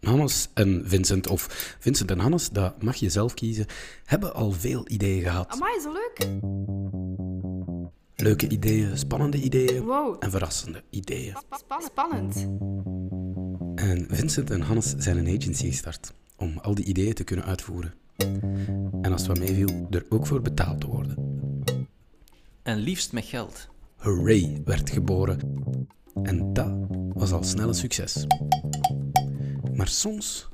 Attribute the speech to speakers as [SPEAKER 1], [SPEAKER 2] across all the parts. [SPEAKER 1] Hannes en Vincent, of Vincent en Hannes, dat mag je zelf kiezen, hebben al veel ideeën gehad.
[SPEAKER 2] Amai, zo leuk.
[SPEAKER 1] Leuke ideeën, spannende ideeën
[SPEAKER 2] Wow.
[SPEAKER 1] en verrassende ideeën.
[SPEAKER 2] Spa- Spannend.
[SPEAKER 1] En Vincent en Hannes zijn een agency gestart om al die ideeën te kunnen uitvoeren. En als het wat meeviel, er ook voor betaald te worden.
[SPEAKER 3] En liefst met geld.
[SPEAKER 1] Hooray werd geboren. En dat was al snel een succes. Maar soms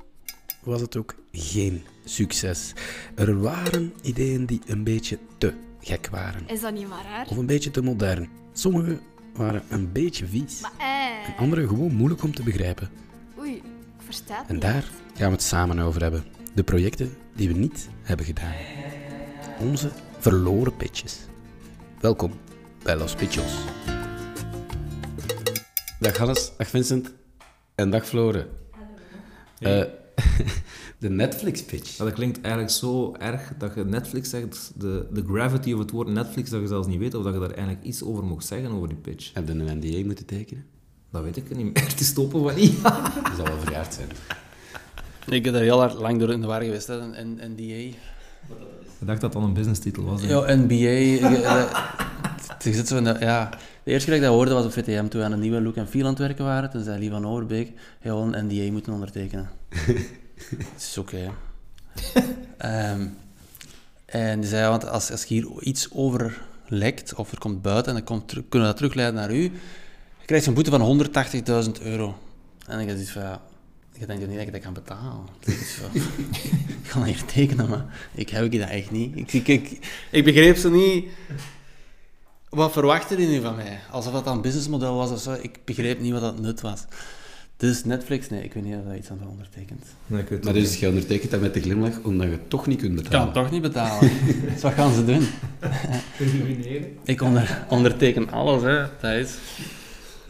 [SPEAKER 1] was het ook geen succes. Er waren ideeën die een beetje te gek waren.
[SPEAKER 2] Is dat niet maar raar?
[SPEAKER 1] Of een beetje te modern. Sommige waren een beetje vies.
[SPEAKER 2] Eh,
[SPEAKER 1] Andere gewoon moeilijk om te begrijpen.
[SPEAKER 2] oei, ik versta het
[SPEAKER 1] En
[SPEAKER 2] niet.
[SPEAKER 1] daar gaan we het samen over hebben. De projecten die we niet hebben gedaan. Onze verloren pitches. Welkom bij Los Pitchos. Dag Hannes, dag Vincent en dag Floren. Eh, de Netflix pitch.
[SPEAKER 4] Ja, dat klinkt eigenlijk zo erg dat je Netflix zegt, de, de gravity of het woord Netflix, dat je zelfs niet weet of dat je daar eigenlijk iets over mocht zeggen over die pitch.
[SPEAKER 1] Heb je een NDA moeten tekenen?
[SPEAKER 4] Dat weet ik niet meer. Het is stoppen van niet.
[SPEAKER 1] Dat zal wel verjaard zijn.
[SPEAKER 3] Ik ben daar heel hard lang door in de war geweest, hè. Een, een NDA.
[SPEAKER 4] Ik dacht dat dat een businesstitel was. hè.
[SPEAKER 3] Ja, NBA. eh, eh, t- je zit zo in dat- ja. De eerste keer dat ik dat hoorde was op VTM, toen we aan een nieuwe look en feel aan het werken waren. Toen zei Lee van Overbeek, hij wil een NDA moeten ondertekenen. Het is oké. hè. Ehm, en die zei, want als, als je hier iets over lekt, of er komt buiten, en dan komt, teru- kunnen we dat terugleiden naar u, je krijgt een boete van 180.000 euro. En ik had zoiets van, ja, ik denk toch niet dat ik dat kan betalen. Het is zo. ik ga dat hier tekenen, maar ik heb dat echt niet. Ik, ik, ik, ik begreep zo niet... Wat verwachtte die nu van mij? Alsof dat dan een businessmodel was of zo. Ik begreep niet wat dat nut was. Dus Netflix, nee, ik weet niet of dat iets aan ondertekent.
[SPEAKER 4] Nee, ik weet het
[SPEAKER 1] Maar
[SPEAKER 4] ook
[SPEAKER 1] dus
[SPEAKER 4] niet.
[SPEAKER 1] je ondertekent dat met de glimlach omdat je het toch niet kunt
[SPEAKER 3] Ik kan
[SPEAKER 1] betalen.
[SPEAKER 3] het toch niet betalen. dus wat gaan ze doen? ik onder, onderteken alles, hè, Thijs.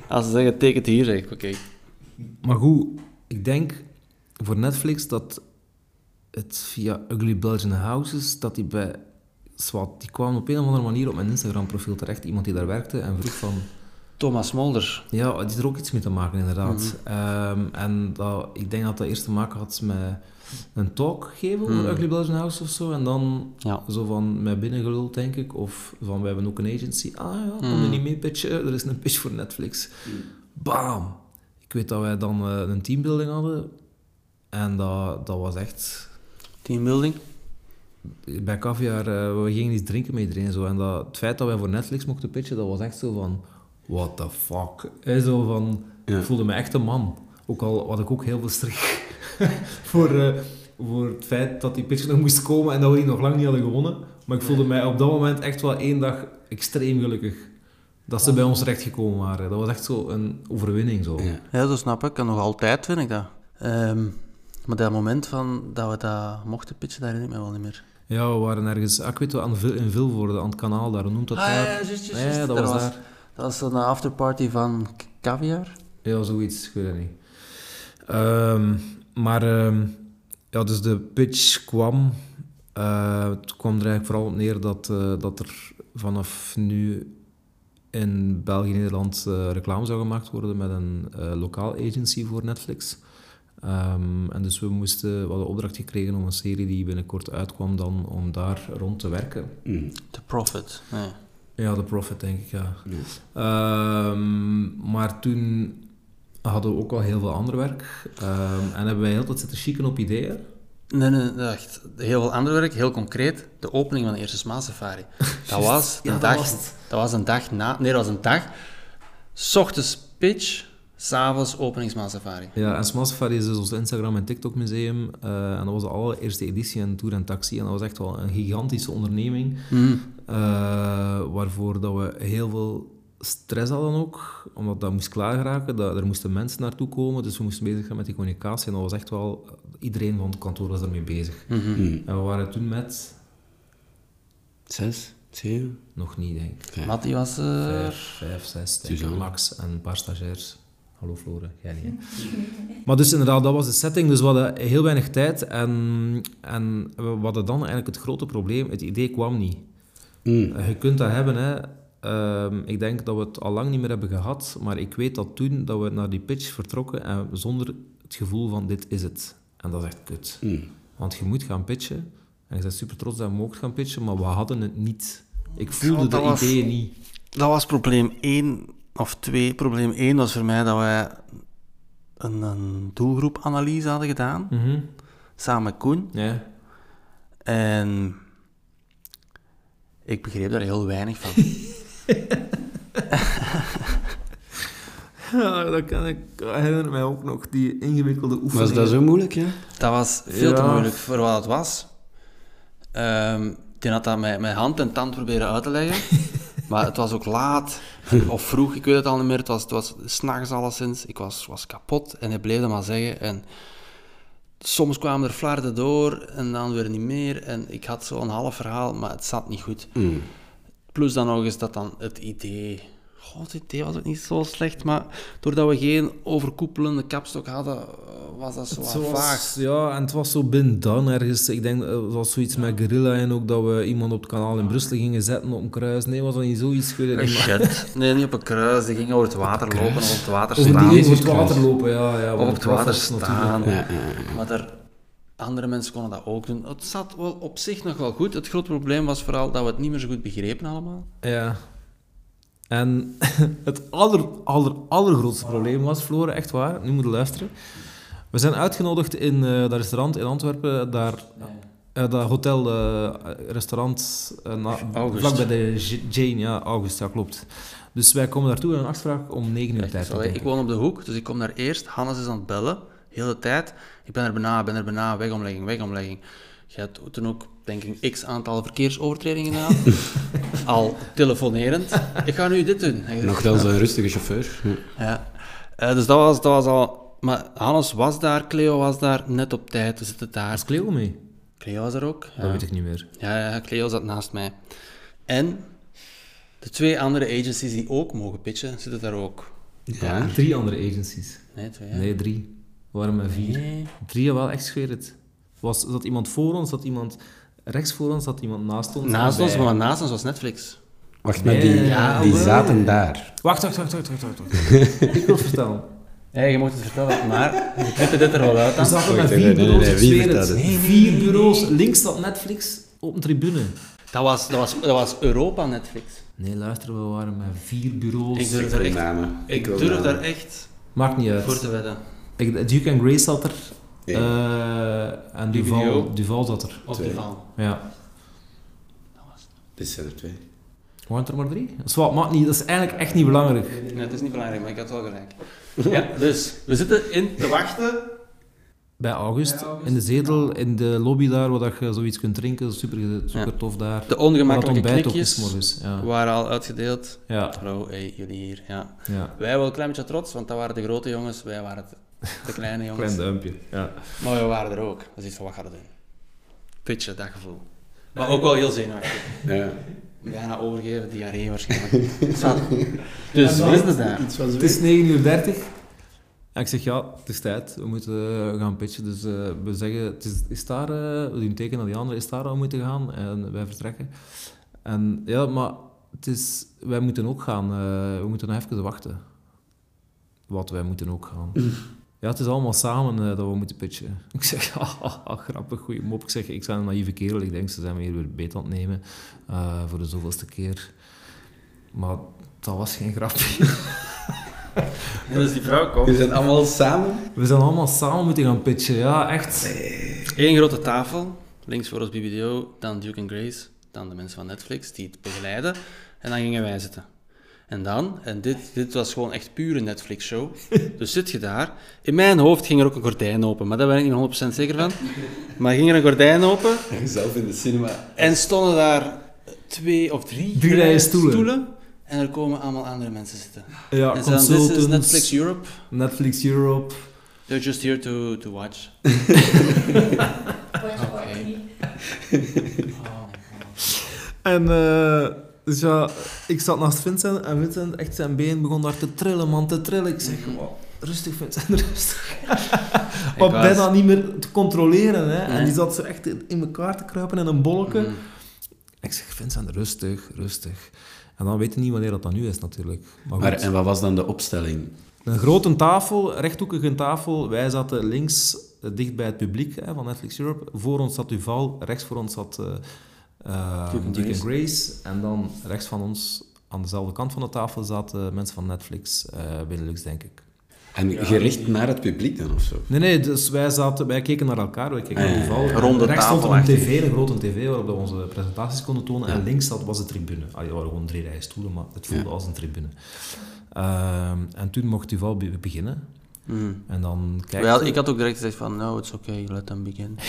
[SPEAKER 3] Als ze zeggen, teken het hier, zeg ik, oké.
[SPEAKER 4] Maar goed, ik denk voor Netflix dat het via Ugly Belgian Houses, dat die bij... Zwat, die kwamen op een of andere manier op mijn Instagram-profiel terecht, iemand die daar werkte, en vroeg van...
[SPEAKER 3] Thomas Mulder.
[SPEAKER 4] Ja, het is er ook iets mee te maken, inderdaad. Ehm, en dat, ik denk dat dat eerst te maken had met een talk geven over Ugly Belgian House of zo. En dan
[SPEAKER 3] Ja.
[SPEAKER 4] zo van mij binnengeluld, denk ik. Of van, we hebben ook een agency. Ah ja, kom je niet mee pitchen? Er is een pitch voor Netflix. Bam! Ik weet dat wij dan eh, een teambuilding hadden. En dat, dat was echt...
[SPEAKER 3] Teambuilding.
[SPEAKER 4] Bij Caviar, eh, we gingen iets drinken met iedereen. Zo, en dat, het feit dat wij voor Netflix mochten pitchen, dat was echt zo van... What the fuck? Eh, zo van, Ik voelde me echt een man. Ook al had ik ook heel veel strik voor, eh, voor het feit dat die pitch nog moest komen en dat we die nog lang niet hadden gewonnen. Maar ik voelde mij op dat moment echt wel één dag extreem gelukkig dat ze bij ons terecht gekomen waren. Dat was echt zo een overwinning. Zo.
[SPEAKER 1] Ja.
[SPEAKER 3] Ja, dat snap ik. En nog altijd vind ik dat. Ehm, maar dat moment van dat we dat mochten pitchen, daar herinner ik me wel niet meer.
[SPEAKER 4] Ja, we waren ergens, ah, ik weet wel, aan Vil- in Vilvoorde, aan het kanaal daar, hoe noemt dat daar?
[SPEAKER 3] juist,
[SPEAKER 4] Ah, Ja, ja, dat
[SPEAKER 3] Daar
[SPEAKER 4] was daar.
[SPEAKER 3] Dat was een afterparty van K- Caviar.
[SPEAKER 4] Ja, zoiets, ik weet het niet. Ehm, maar ehm, ja, dus de pitch kwam. eh, het kwam er eigenlijk vooral op neer dat, eh, dat er vanaf nu in België en Nederland eh, reclame zou gemaakt worden met een eh, lokaal agency voor Netflix. Ehm, en dus we, moesten, we hadden opdracht gekregen om een serie die binnenkort uitkwam dan om daar rond te werken.
[SPEAKER 1] Mm.
[SPEAKER 3] The Profit. Nee.
[SPEAKER 4] Ja, de Profit, denk ik, ja.
[SPEAKER 1] Ja.
[SPEAKER 4] Ehm, maar toen hadden we ook al heel veel ander werk. Ehm, en hebben wij heel de tijd zitten chicken op ideeën.
[SPEAKER 3] Nee, nee, nee, echt. Heel veel ander werk, heel concreet. De opening van de eerste Smaasafari. Dat was een
[SPEAKER 4] Ja, dat
[SPEAKER 3] dag...
[SPEAKER 4] was het.
[SPEAKER 3] dat was een dag na... Nee, dat was een dag... 's ochtends pitch, s'avonds opening Smaasafari.
[SPEAKER 4] Ja, en Smasafari is dus ons Instagram- en TikTok-museum. Eh, en dat was de allereerste editie in Tour en Taxi. En dat was echt wel een gigantische onderneming. Eh, waarvoor dat we heel veel stress hadden ook. Omdat dat moest klaargeraken. Dat, er moesten mensen naartoe komen. Dus we moesten bezig zijn met die communicatie. En dat was echt wel... Iedereen van het kantoor was ermee bezig.
[SPEAKER 1] Mm.
[SPEAKER 4] En we waren toen met...
[SPEAKER 1] Zes, zeven,
[SPEAKER 4] Nog niet, denk ik.
[SPEAKER 1] Ja.
[SPEAKER 3] Mattie was er...
[SPEAKER 4] Vijf, vijf, zes, denk ik.
[SPEAKER 1] Suzanne.
[SPEAKER 4] max en een paar stagiairs. Hallo Flore, jij niet. hè? maar dus inderdaad, dat was de setting. Dus we hadden heel weinig tijd. En, en we hadden dan eigenlijk het grote probleem. Het idee kwam niet. Eh,
[SPEAKER 1] Mm.
[SPEAKER 4] Je kunt dat hebben, hè. Ehm, ik denk dat we het al lang niet meer hebben gehad, maar ik weet dat toen dat we naar die pitch vertrokken en zonder het gevoel van dit is het. En dat is echt kut.
[SPEAKER 1] Hmm.
[SPEAKER 4] Want je moet gaan pitchen. En je bent super trots dat je mocht gaan pitchen, maar we hadden het niet. Ik voelde
[SPEAKER 3] Ja,
[SPEAKER 4] de
[SPEAKER 3] dat was-
[SPEAKER 4] ideeën niet.
[SPEAKER 3] Dat was probleem 1 of 2. Probleem 1 was voor mij dat wij een, een doelgroepanalyse hadden gedaan,
[SPEAKER 4] Mhm.
[SPEAKER 3] samen met Koen.
[SPEAKER 4] Ja.
[SPEAKER 3] En ik begreep daar heel weinig van.
[SPEAKER 4] Ja, Ah, dat kan ik herinner mij ook nog, die ingewikkelde oefeningen.
[SPEAKER 1] Was dat zo moeilijk, ja?
[SPEAKER 3] Dat was veel te
[SPEAKER 4] Ja.
[SPEAKER 3] moeilijk voor wat het was. Ehm die had dat met, met hand en tand proberen uit te leggen. maar het was ook laat of vroeg, ik weet het al niet meer. Het was, het was s'nachts alleszins. Ik was, was kapot en hij bleef dat maar zeggen. En soms kwamen er flarden door en dan weer niet meer. En ik had zo'n half verhaal, maar het zat niet goed.
[SPEAKER 4] Mm.
[SPEAKER 1] Hmm.
[SPEAKER 3] Plus dan nog eens dat dan het idee... Goh, het idee was ook niet zo slecht, maar doordat we geen overkoepelende kapstok hadden, eh, was dat zo,
[SPEAKER 4] Het
[SPEAKER 3] wat
[SPEAKER 4] was-
[SPEAKER 3] vaag.
[SPEAKER 4] Ja, en het was zo binnen dan ergens. Ik denk, eh, het was zoiets met Guerrilla en ook dat we iemand op het kanaal in Brussel gingen zetten op een kruis. Nee, was dat niet zoiets? Ik weet het niet. maar-
[SPEAKER 3] Shit. Nee, niet op een kruis. Die gingen over het water lopen of op het water
[SPEAKER 4] Of
[SPEAKER 3] staan.
[SPEAKER 4] die over het
[SPEAKER 1] Jezus
[SPEAKER 4] water
[SPEAKER 1] Christus.
[SPEAKER 4] lopen, ja. ja
[SPEAKER 3] Of
[SPEAKER 4] want
[SPEAKER 3] op het
[SPEAKER 4] dat
[SPEAKER 3] water
[SPEAKER 4] was natuurlijk-
[SPEAKER 3] staan.
[SPEAKER 1] Ja, ja, ja.
[SPEAKER 3] Maar er, andere mensen konden dat ook doen. Het zat wel op zich nog wel goed. Het grote probleem was vooral dat we het niet meer zo goed begrepen allemaal.
[SPEAKER 4] Ja. En het aller, aller, allergrootste probleem was, Floor, echt waar, nu moet je luisteren. We zijn uitgenodigd in eh, dat restaurant in Antwerpen, daar, eh, dat hotel, eh, restaurant, eh, na-
[SPEAKER 3] August.
[SPEAKER 4] vlakbij de J- Jane, ja, August, ja, klopt. Dus wij komen daartoe en een afspraak om 9 uur
[SPEAKER 3] Echt,
[SPEAKER 4] tijd.
[SPEAKER 3] allee,
[SPEAKER 4] denk
[SPEAKER 3] ik
[SPEAKER 4] ik.
[SPEAKER 3] woon op de hoek, dus ik kom daar eerst. Hannes is aan het bellen, heel de tijd. Ik ben er bijna, ben er bijna, wegomlegging, wegomlegging. Je hebt toen ook, denk ik, x aantal verkeersovertredingen gedaan. Al telefonerend. Ik ga nu dit doen. Hij zegt,
[SPEAKER 1] Nochtans een rustige chauffeur. Ja.
[SPEAKER 3] Ja. Eh, dus dat was, dat was al... Maar Hannes was daar, Cleo was daar, net op tijd. We zitten daar.
[SPEAKER 4] Is Cleo mee?
[SPEAKER 3] Cleo was er ook. Ja.
[SPEAKER 4] Dat weet ik niet meer.
[SPEAKER 3] Ja, ja, Cleo zat naast mij. En de twee andere agencies die ook mogen pitchen, zitten daar ook.
[SPEAKER 1] Ja.
[SPEAKER 4] Drie andere agencies.
[SPEAKER 3] Nee, twee. hè?
[SPEAKER 4] Nee, drie. Waarom maar vier?
[SPEAKER 3] Nee.
[SPEAKER 4] Drie, wel echt zweer het. Was, zat iemand voor ons, zat iemand rechts voor ons, zat iemand naast ons.
[SPEAKER 3] Naast ons,
[SPEAKER 4] Bij-
[SPEAKER 3] maar naast ons was Netflix.
[SPEAKER 1] Wacht, maar die,
[SPEAKER 4] Ja,
[SPEAKER 1] die
[SPEAKER 4] wel.
[SPEAKER 1] zaten daar.
[SPEAKER 4] Wacht, wacht, wacht, wacht, wacht, wacht. wacht. ik wil het vertellen.
[SPEAKER 3] Ja, je mocht het vertellen, maar je knipt dit er wel uit
[SPEAKER 4] We
[SPEAKER 3] dan.
[SPEAKER 4] zaten
[SPEAKER 1] Wacht,
[SPEAKER 4] met
[SPEAKER 1] nee,
[SPEAKER 4] vier
[SPEAKER 1] nee, nee,
[SPEAKER 4] bureaus,
[SPEAKER 1] nee,
[SPEAKER 4] ik
[SPEAKER 1] wie
[SPEAKER 4] zweer
[SPEAKER 1] vertelt
[SPEAKER 4] het.
[SPEAKER 1] het?
[SPEAKER 4] Vier bureaus, links staat Netflix, op een tribune.
[SPEAKER 3] Dat was, dat was, dat was Europa Netflix.
[SPEAKER 4] Nee, luister, we waren met vier bureaus.
[SPEAKER 3] Ik durf daar echt,
[SPEAKER 1] namen.
[SPEAKER 3] ik durf daar echt
[SPEAKER 4] Maakt niet
[SPEAKER 3] voor te
[SPEAKER 4] uit.
[SPEAKER 3] wedden.
[SPEAKER 4] Ik, Duke and Grace zat er.
[SPEAKER 1] Ja.
[SPEAKER 4] eh, en
[SPEAKER 3] Die video.
[SPEAKER 4] Duval, Duval zat er.
[SPEAKER 3] Op
[SPEAKER 1] Twee.
[SPEAKER 3] die val.
[SPEAKER 4] Ja.
[SPEAKER 1] Dit zijn er twee.
[SPEAKER 4] Waren het er maar drie? Zwat, maakt niet. Dat is eigenlijk echt niet belangrijk.
[SPEAKER 3] Nee, het is niet belangrijk, maar ik had wel gelijk. Ja, dus, we zitten in te wachten.
[SPEAKER 4] Bij August, in de zetel, in de lobby daar, waar dat je zoiets kunt drinken. Super, super
[SPEAKER 3] Ja.
[SPEAKER 4] tof daar.
[SPEAKER 3] De
[SPEAKER 4] Waar het
[SPEAKER 3] ongemakkelijke
[SPEAKER 4] ontbijt ook is
[SPEAKER 3] knikjes
[SPEAKER 4] morgens. Ja.
[SPEAKER 3] waren al uitgedeeld.
[SPEAKER 4] Ja,
[SPEAKER 3] Hallo, hey, jullie hier. Ja.
[SPEAKER 4] ja.
[SPEAKER 3] Wij wel een klein beetje trots, want dat waren de grote jongens, wij waren de, de kleine jongens.
[SPEAKER 4] duimpje. Ja.
[SPEAKER 3] Maar we waren er ook. Dat is iets van, wat gaan we doen? Pitchen, dat gevoel. Maar ook wel heel zenuwachtig.
[SPEAKER 1] Ja.
[SPEAKER 3] Bijna overgeven, diarree waarschijnlijk. Zat. dus, we zitten daar.
[SPEAKER 4] Het is 9 uur 30. En ik zeg, ja, het is tijd. We moeten eh, gaan pitchen. Dus eh, we zeggen, het is, is daar... eh, we doen teken naar die anderen. Is daar al moeten gaan? En wij vertrekken. En ja, maar het is... Wij moeten ook gaan. eh, we moeten nog even wachten. Wat, wij moeten ook gaan. Ja, het is allemaal samen eh, dat we moeten pitchen. Ik zeg, haha, grappig, goeie mop. Ik zeg, ik ben een naïeve kerel. Ik denk, ze zijn me hier weer beet aan het nemen. eh, voor de zoveelste keer. Maar dat was geen grapje.
[SPEAKER 3] En dus die vrouw komt.
[SPEAKER 1] Die zijn allemaal samen.
[SPEAKER 4] We zijn allemaal samen moeten gaan pitchen, ja, echt.
[SPEAKER 3] Eén grote tafel, links voor ons BBDO, dan Duke and Grace, dan de mensen van Netflix die het begeleiden. En dan gingen wij zitten. En dan, en dit, dit was gewoon echt pure Netflix-show. Dus zit je daar. In mijn hoofd ging er ook een gordijn open, maar daar ben ik niet 100% zeker van. Maar ging er een gordijn open
[SPEAKER 1] Zelf in de cinema.
[SPEAKER 3] en stonden daar twee of drie,
[SPEAKER 4] Drie rijen stoelen.
[SPEAKER 3] En er komen allemaal andere mensen zitten.
[SPEAKER 4] Ja,
[SPEAKER 3] en ze dan, this is
[SPEAKER 4] consultants,
[SPEAKER 3] Netflix Europe.
[SPEAKER 4] Netflix Europe.
[SPEAKER 3] They're just here to, to watch. Oké.
[SPEAKER 4] En eh, dus ja, ik zat naast Vincent en Vincent, echt zijn been begon daar te trillen, man, te trillen. Ik zeg,
[SPEAKER 3] Mhm.
[SPEAKER 4] "Wow, rustig Vincent, rustig. maar
[SPEAKER 3] was- Mhm.
[SPEAKER 4] bijna niet meer te controleren, hè. En
[SPEAKER 3] Nee.
[SPEAKER 4] die zat zo echt in in elkaar te kruipen in een bolletje.
[SPEAKER 3] Mm.
[SPEAKER 4] Ik zeg, Vincent, rustig, rustig. En dan weet je niet wanneer dat dan nu is, natuurlijk. Maar,
[SPEAKER 1] Maar
[SPEAKER 4] goed.
[SPEAKER 1] en wat was dan de opstelling?
[SPEAKER 4] Een grote tafel, rechthoekige tafel. Wij zaten links eh, dicht bij het publiek hè, van Netflix Europe. Voor ons zat Duval, rechts voor ons zat eh, eh,
[SPEAKER 3] Duke and
[SPEAKER 4] Duke and
[SPEAKER 3] Grace.
[SPEAKER 4] Grace. En dan rechts van ons, aan dezelfde kant van de tafel, zaten mensen van Netflix, eh Benelux, denk ik.
[SPEAKER 1] En gericht naar het publiek dan of zo?
[SPEAKER 4] Nee, nee, dus wij, zaten, wij keken naar elkaar, wij keken
[SPEAKER 1] Ah,
[SPEAKER 4] naar
[SPEAKER 1] ja,
[SPEAKER 4] Duval.
[SPEAKER 3] ja. Eh, Ronde
[SPEAKER 4] rechts
[SPEAKER 3] tafel
[SPEAKER 4] stond er een
[SPEAKER 3] eigenlijk.
[SPEAKER 4] tv, een grote tv, waarop we onze presentaties konden tonen.
[SPEAKER 1] Ja.
[SPEAKER 4] En links zat, was de tribune. Ah, ja, waren gewoon drie rijen stoelen, maar het voelde
[SPEAKER 1] Ja.
[SPEAKER 4] als een tribune. Ehm, en toen mocht Duval be- beginnen.
[SPEAKER 3] Mhm.
[SPEAKER 4] En dan kijken...
[SPEAKER 3] Wel, ik had ook direct gezegd van, no, it's okay, let them begin.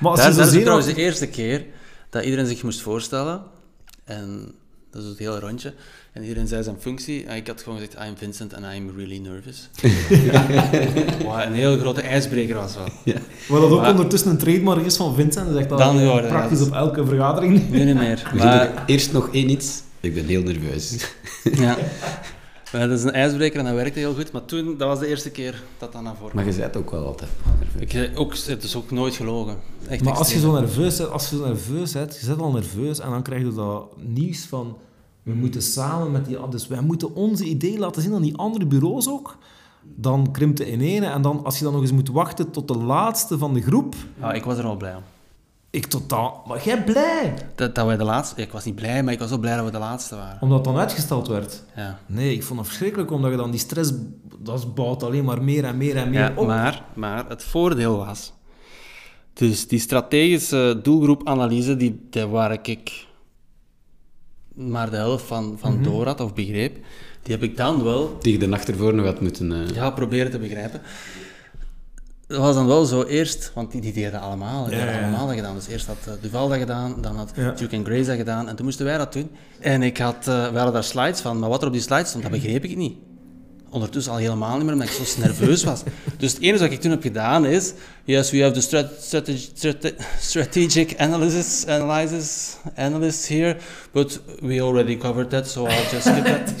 [SPEAKER 4] Maar als
[SPEAKER 3] Daar,
[SPEAKER 4] je zo
[SPEAKER 3] dat is
[SPEAKER 4] zenuwachtig-
[SPEAKER 3] trouwens de eerste keer dat iedereen zich moest voorstellen. En dat is het hele rondje. En iedereen zei zijn functie. En ik had gewoon gezegd, I'm Vincent and I'm really nervous. Wat een heel grote ijsbreker was wel.
[SPEAKER 4] Wat dat ook
[SPEAKER 3] Maar-
[SPEAKER 4] ondertussen een trademark is van Vincent, die zegt dat
[SPEAKER 3] Dan
[SPEAKER 4] eigenlijk
[SPEAKER 3] ja,
[SPEAKER 4] praktisch
[SPEAKER 3] ja.
[SPEAKER 4] op elke vergadering.
[SPEAKER 3] Nu niet meer.
[SPEAKER 1] We
[SPEAKER 3] Maar,
[SPEAKER 1] doen ook eerst nog één iets. Ik ben heel nerveus.
[SPEAKER 3] ja. maar dat is een ijsbreker en dat werkte heel goed. Maar toen, dat was de eerste keer dat dat naar voren kwam.
[SPEAKER 1] Maar je bent ook wel altijd wel nerveus.
[SPEAKER 3] Ik zei ook, het is ook nooit gelogen. Echt
[SPEAKER 4] Maar als je
[SPEAKER 3] extreem.
[SPEAKER 4] zo nerveus bent, als je zo nerveus bent, je zit al nerveus en dan krijg je dat nieuws van we moeten samen met die dus wij moeten onze idee laten zien aan die andere bureaus ook. Dan krimpt de ineen en dan als je dan nog eens moet wachten tot de laatste van de groep,
[SPEAKER 3] Ja, ik was er al blij om.
[SPEAKER 4] ik totaal, maar jij blij
[SPEAKER 3] Dat, dat wij de laatste... Ik was niet blij, maar ik was wel blij dat we de laatste waren.
[SPEAKER 4] omdat het dan uitgesteld werd.
[SPEAKER 3] Ja.
[SPEAKER 4] Nee, ik vond het verschrikkelijk omdat je dan die stress dat bouwt alleen maar meer en meer en meer
[SPEAKER 3] Ja,
[SPEAKER 4] op.
[SPEAKER 3] maar, maar het voordeel was... Dus die strategische doelgroepanalyse, die, die waar ik- ik maar de helft van, van door had of begreep, die heb ik dan wel
[SPEAKER 1] Die je de nacht ervoor nog had moeten... eh,
[SPEAKER 3] ja, proberen te begrijpen. Dat was dan wel zo eerst, want die, die deden allemaal, die
[SPEAKER 4] Ja,
[SPEAKER 3] hadden
[SPEAKER 4] ja, ja.
[SPEAKER 3] allemaal dat gedaan. Dus eerst had eh, Duval dat gedaan, dan had
[SPEAKER 4] Ja.
[SPEAKER 3] Duke and Grace dat gedaan, en toen moesten wij dat doen. En ik had, eh, wij hadden daar slides van, maar wat er op die slides stond, dat
[SPEAKER 4] Mhm.
[SPEAKER 3] begreep ik niet. Ondertussen al helemaal niet meer, omdat ik zo nerveus was. Dus het enige wat ik toen heb gedaan is... Yes, we have the strat strateg- strate- strategic analysis, analysis, analysts here. But we already covered that, so I'll just skip that.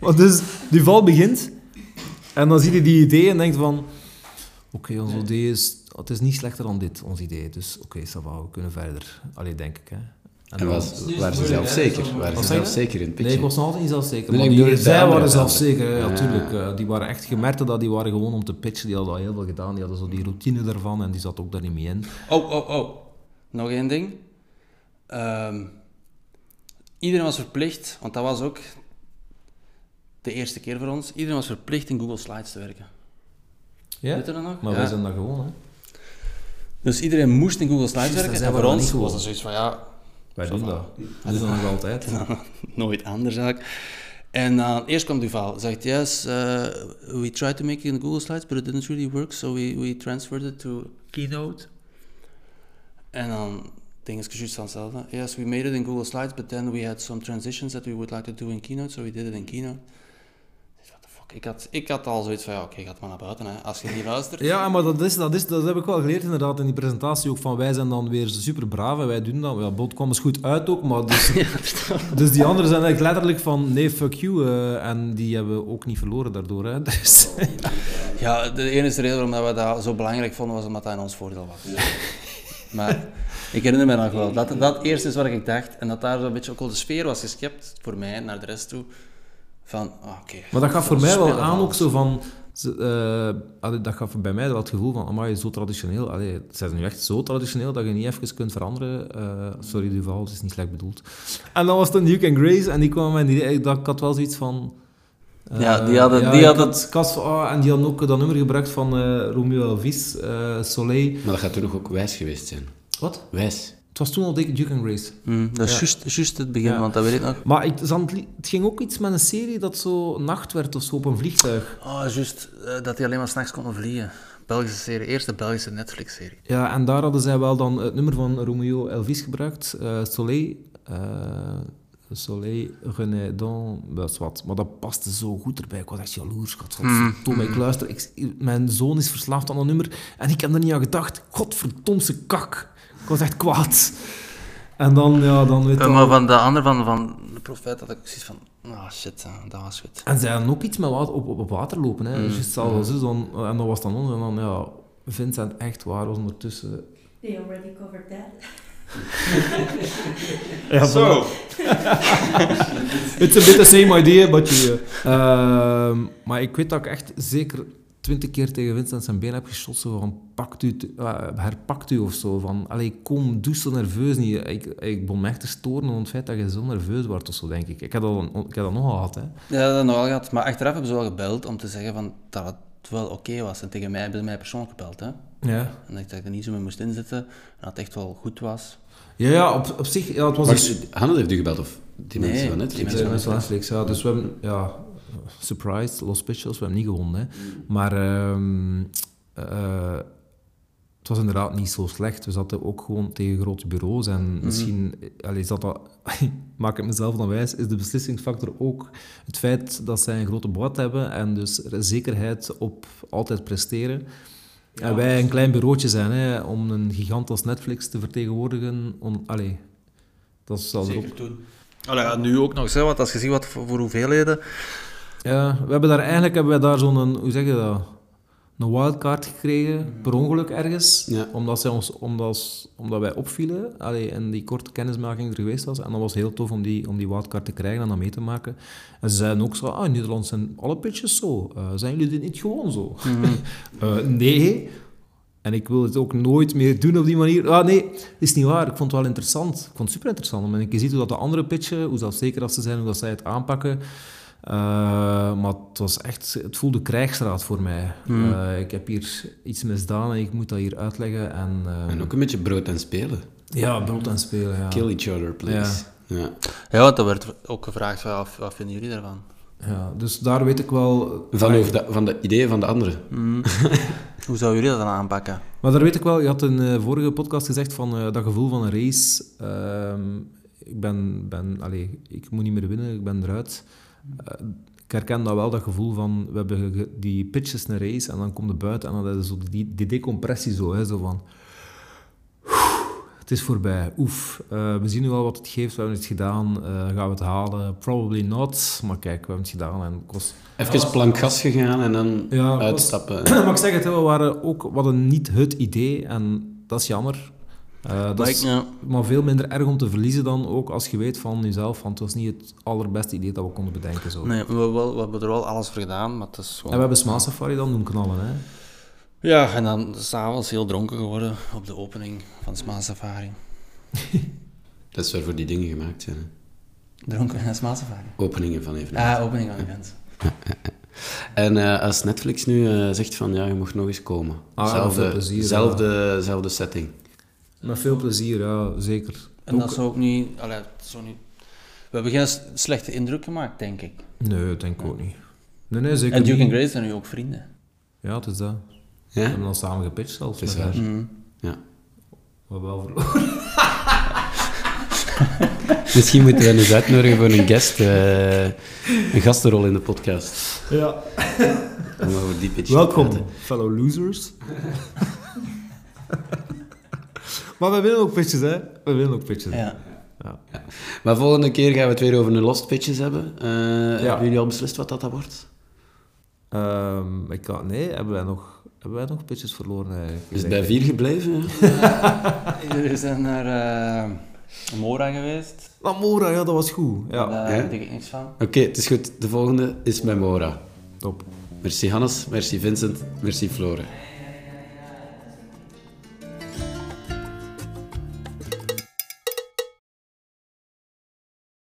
[SPEAKER 4] Maar dus die val begint en dan zie je die idee en denkt van... Oké, ons idee is... Het is niet slechter dan dit, ons idee. Dus oké, ça va, we kunnen verder. Allee, denk ik, hè.
[SPEAKER 1] En was, waren ze zelf zeker? Waren ze
[SPEAKER 4] Wat zei
[SPEAKER 1] zelf
[SPEAKER 4] je?
[SPEAKER 1] zeker in het
[SPEAKER 4] Nee,
[SPEAKER 1] pitje?
[SPEAKER 4] ik was nog altijd niet zelfzeker.
[SPEAKER 1] Nee,
[SPEAKER 4] maar
[SPEAKER 1] ik
[SPEAKER 4] die,
[SPEAKER 1] bedoel het
[SPEAKER 4] zij
[SPEAKER 1] andere,
[SPEAKER 4] waren
[SPEAKER 1] het andere.
[SPEAKER 4] zelfzeker, ja,
[SPEAKER 1] Ja.
[SPEAKER 4] tuurlijk. eh, die waren echt... Je merkte dat, die waren gewoon om te pitchen. Die hadden al heel veel gedaan. Die hadden zo die routine daarvan en die zat ook daar niet mee in.
[SPEAKER 3] Oh, oh, oh. Nog één ding. Ehm, iedereen was verplicht, want dat was ook de eerste keer voor ons, iedereen was verplicht in Google Slides te werken.
[SPEAKER 4] Ja?
[SPEAKER 3] Weet je dat nog?
[SPEAKER 4] Maar
[SPEAKER 3] Ja.
[SPEAKER 4] wij zijn daar gewoon, hè.
[SPEAKER 3] Dus iedereen moest in Google Slides
[SPEAKER 4] Juist, dat
[SPEAKER 3] werken.
[SPEAKER 4] zijn
[SPEAKER 3] En
[SPEAKER 4] we
[SPEAKER 3] voor
[SPEAKER 4] dan
[SPEAKER 3] ons
[SPEAKER 4] niet goed.
[SPEAKER 3] was dat zoiets van, ja,
[SPEAKER 4] Wij
[SPEAKER 3] Zo
[SPEAKER 4] doen
[SPEAKER 3] van.
[SPEAKER 4] dat. We doen dat nog altijd.
[SPEAKER 3] nooit anders eigenlijk. En dan eerst kwam Duval, zegt, yes, eh, we tried to make it in Google Slides, but it didn't really work, so we, we transferred it to Keynote. En dan, ding is precies hetzelfde. Yes, we made it in Google Slides, but then we had some transitions that we would like to do in Keynote, so we did it in Keynote. Ik dacht, What the fuck, ik had, ik had al zoiets van, ja, oké, gaat maar naar buiten, hè, als je niet luistert.
[SPEAKER 4] Ja, maar dat, is, dat, is, dat heb ik wel geleerd inderdaad in die presentatie ook. Van wij zijn dan weer super braaf en wij doen dat. Ja, Bot kwam eens goed uit ook, maar dus, dus die anderen zijn eigenlijk letterlijk van nee, fuck you. eh, en die hebben ook niet verloren daardoor. Hè. Dus,
[SPEAKER 3] Ja, de enige reden waarom dat we dat zo belangrijk vonden was omdat dat in ons voordeel was. Maar ik herinner me nog wel, dat, dat eerst is wat ik dacht en dat daar zo'n beetje ook wel de sfeer was geschept voor mij naar de rest toe. Van, ah, oké.
[SPEAKER 4] maar dat gaf voor mij wel
[SPEAKER 3] Spelen
[SPEAKER 4] aan
[SPEAKER 3] van
[SPEAKER 4] ook
[SPEAKER 3] alles.
[SPEAKER 4] zo van... ze- eh, allee, dat gaf bij mij wel het gevoel van, amai, zo traditioneel. Allee, het zijn nu echt zo traditioneel dat je niet even kunt veranderen. Eh, sorry Duval, het is niet slecht bedoeld. En dan was dan Duke and Grace en die kwam en die, ik, dat, ik had wel zoiets van... eh,
[SPEAKER 3] Ja, die hadden- die
[SPEAKER 4] ik
[SPEAKER 3] hadden-
[SPEAKER 4] had Cas- ah, en die hadden ook dat nummer gebruikt van eh, Romeo Elvis, eh, Soleil.
[SPEAKER 1] Maar dat gaat toen nog ook wijs geweest zijn.
[SPEAKER 4] Wat?
[SPEAKER 1] Wijs.
[SPEAKER 4] Het was toen al dik Duke and Grace.
[SPEAKER 3] Mm, dat is
[SPEAKER 4] Ja.
[SPEAKER 3] juist- juist het begin,
[SPEAKER 4] Ja.
[SPEAKER 3] want dat weet ik nog.
[SPEAKER 4] Maar ik, ze hadden het li- het ging ook iets met een serie dat zo nacht werd of zo op een vliegtuig.
[SPEAKER 3] Oh, juist eh, dat die alleen maar s'nachts konden vliegen. Belgische serie, eerste Belgische Netflix-serie.
[SPEAKER 4] Ja, en daar hadden zij wel dan het nummer van Romeo Elvis gebruikt, eh, Soleil. eh, Soleil, René Don, dat is wat. Maar dat paste zo goed erbij. Ik was echt jaloers. Godverdomme, ik luister. Ik, mijn zoon is verslaafd aan dat nummer. En ik heb er niet aan gedacht. Godverdomse kak. Ik was echt kwaad. En dan, ja, dan weet je
[SPEAKER 3] Eh,
[SPEAKER 4] wel.
[SPEAKER 3] maar van de andere, van, van de profeet, had ik zoiets van, ah shit, eh, dat was goed.
[SPEAKER 4] En zij hadden ook iets met water, op, op, op water lopen. Hè. Dus het zal wel zo, dan, en dat was dan ons. En dan, ja, Vincent, echt waar, was ondertussen
[SPEAKER 5] They already covered that.
[SPEAKER 4] Ja,
[SPEAKER 5] Zo,
[SPEAKER 4] It's a bit the same idea, but you... Ehm, maar ik weet dat ik echt zeker twintig keer tegen Vincent zijn been heb geschot. Zo van, pakt u, t- eh, herpakt u of zo. Van, allee, kom, doe zo nerveus niet. Ik, ik begon me echt te storen aan het feit dat je zo nerveus wordt of zo, denk ik. Ik heb dat, ik heb dat nogal gehad, hè.
[SPEAKER 3] Ja, dat nogal gehad. Maar achteraf hebben ze wel gebeld om te zeggen van, dat het wel oké was. En tegen mij hebben ze mij persoonlijk gebeld. Hè?
[SPEAKER 4] Ja.
[SPEAKER 3] En dat ik daar niet zo mee moest inzitten. En dat het echt wel goed was.
[SPEAKER 4] Ja, ja op, op zich, ja, het was...
[SPEAKER 1] Maar
[SPEAKER 4] iets-
[SPEAKER 1] Hanne heeft u gebeld, of die
[SPEAKER 3] Nee,
[SPEAKER 1] mensen van
[SPEAKER 3] die
[SPEAKER 1] Netflix?
[SPEAKER 3] mensen
[SPEAKER 4] Ja,
[SPEAKER 3] van
[SPEAKER 4] mensen van Netflix, ja. Dus we hebben, ja, surprise, Los Pichos, we hebben niet gewonnen. Hè. Maar ehm, eh, het was inderdaad niet zo slecht. We zaten ook gewoon tegen grote bureaus en misschien, allee, zat dat, maak ik mezelf dan wijs, is de beslissingsfactor ook het feit dat zij een grote boot hebben en dus er is zekerheid op altijd presteren. en wij een klein bureautje zijn, hè, om een gigant als Netflix te vertegenwoordigen. Om, allee, dat zal er ook
[SPEAKER 5] zeker toen.
[SPEAKER 3] Allee, ja, nu ook nog zo, want als je ziet wat voor, voor hoeveelheden.
[SPEAKER 4] Ja, we hebben daar eigenlijk hebben we daar zo'n, hoe zeg je dat, een wildcard gekregen, per ongeluk ergens.
[SPEAKER 1] Ja.
[SPEAKER 4] Omdat, zij ons, omdat, omdat wij opvielen allee, en die korte kennismaking er geweest was. En dat was heel tof om die, om die wildcard te krijgen en dat mee te maken. En ze zeiden ook zo, ah, in Nederland zijn alle pitches zo. Eh, zijn jullie dit niet gewoon zo? Eh, nee. En ik wil het ook nooit meer doen op die manier. Ah, nee, is niet waar. Ik vond het wel interessant. Ik vond het super interessant. Omdat je ziet hoe dat de andere pitchen, hoe zelfzeker ze zijn, hoe dat zij het aanpakken. Eh, maar het was echt, het voelde krijgsraad voor mij.
[SPEAKER 1] Hmm.
[SPEAKER 4] Eh, ik heb hier iets misdaan en ik moet dat hier uitleggen. En, eh,
[SPEAKER 1] En ook een beetje brood en spelen.
[SPEAKER 4] ja, brood en spelen. Ja.
[SPEAKER 1] Kill each other, please. Ja.
[SPEAKER 3] Ja, want er werd ook gevraagd, van, wat, wat vinden jullie daarvan?
[SPEAKER 4] Ja, dus daar weet ik wel.
[SPEAKER 1] Van, over de, van de ideeën van de anderen.
[SPEAKER 3] Hoe zouden jullie Hmm. dat dan aanpakken?
[SPEAKER 4] Maar daar weet ik wel, je had in de vorige podcast gezegd van eh, dat gevoel van een race. ehm, ik ben, ben allee, ik moet niet meer winnen, ik ben eruit. Eh, ik herken dat wel, dat gevoel van, we hebben ge- die pitches een race en dan komt het buiten en dan is zo die, die decompressie zo, hè, zo van... Het is voorbij, oef. Eh, we zien nu wel wat het geeft, we hebben het gedaan, eh, gaan we het halen? Probably not, maar kijk, we hebben het gedaan en het kost...
[SPEAKER 1] Even plank gas gegaan en dan
[SPEAKER 4] Ja, het was-
[SPEAKER 1] uitstappen.
[SPEAKER 4] maar ik zeg het, hè, we waren ook, we hadden niet het idee en dat is jammer. Eh, dat
[SPEAKER 3] Maar
[SPEAKER 4] is
[SPEAKER 3] ik- ja.
[SPEAKER 4] maar veel minder erg om te verliezen dan ook als je weet van jezelf, want het was niet het allerbeste idee dat we konden bedenken. Zo.
[SPEAKER 3] Nee, we, wel- we hebben er wel alles voor gedaan, maar het is gewoon...
[SPEAKER 4] En we hebben Smaal Safari dan doen knallen. Hè?
[SPEAKER 3] Ja, en dan s'avonds heel dronken geworden op de opening van Smaal Safari.
[SPEAKER 1] Dat is waarvoor die dingen gemaakt zijn. hè.
[SPEAKER 3] Dronken naar Smaal Safari.
[SPEAKER 1] Openingen van evenementen.
[SPEAKER 3] Ah, opening van events.
[SPEAKER 1] En eh, als Netflix nu eh, zegt van ja, je mag nog eens komen.
[SPEAKER 4] Ah, veel
[SPEAKER 1] zelfde,
[SPEAKER 4] plezier,
[SPEAKER 1] zelfde, zelfde setting.
[SPEAKER 4] Met veel plezier, ja, zeker.
[SPEAKER 3] En dat zou ook niet... Allee, het zou niet... We hebben geen s- slechte indruk gemaakt, denk ik.
[SPEAKER 4] Nee, dat denk ik ook niet. Nee, nee, zeker
[SPEAKER 3] en Duke
[SPEAKER 4] niet.
[SPEAKER 3] en Grace zijn nu ook vrienden.
[SPEAKER 4] Ja, het is dat. We
[SPEAKER 1] Ja?
[SPEAKER 4] hebben dan samen gepitcht zelfs.
[SPEAKER 1] Het is
[SPEAKER 4] met
[SPEAKER 1] waar.
[SPEAKER 4] haar.
[SPEAKER 1] ja.
[SPEAKER 4] We hebben wel verloren.
[SPEAKER 1] Misschien moeten we hen eens uitnodigen voor een guest. eh, een gastenrol in de podcast.
[SPEAKER 4] Ja.
[SPEAKER 1] Om over die pitch te praten.
[SPEAKER 4] Welkom, fellow losers. maar we winnen ook pitches, hè? We winnen ook pitches.
[SPEAKER 3] Ja.
[SPEAKER 1] Maar volgende keer gaan we het weer over een lost pitches hebben. Eh, Hebben jullie al beslist wat dat, dat wordt?
[SPEAKER 4] Ehm, ik kan, nee, hebben wij nog, hebben wij nog pitches verloren eigenlijk?
[SPEAKER 1] Is het bij vier gebleven? hè?
[SPEAKER 3] We zijn naar eh, Mora geweest.
[SPEAKER 4] Amora, ja, dat was goed. Ja,
[SPEAKER 3] Daar
[SPEAKER 1] Ja.
[SPEAKER 3] weet ik niks van.
[SPEAKER 1] Oké, het is goed. De volgende is Memora.
[SPEAKER 4] top.
[SPEAKER 1] Merci Hannes, merci Vincent, merci Flore.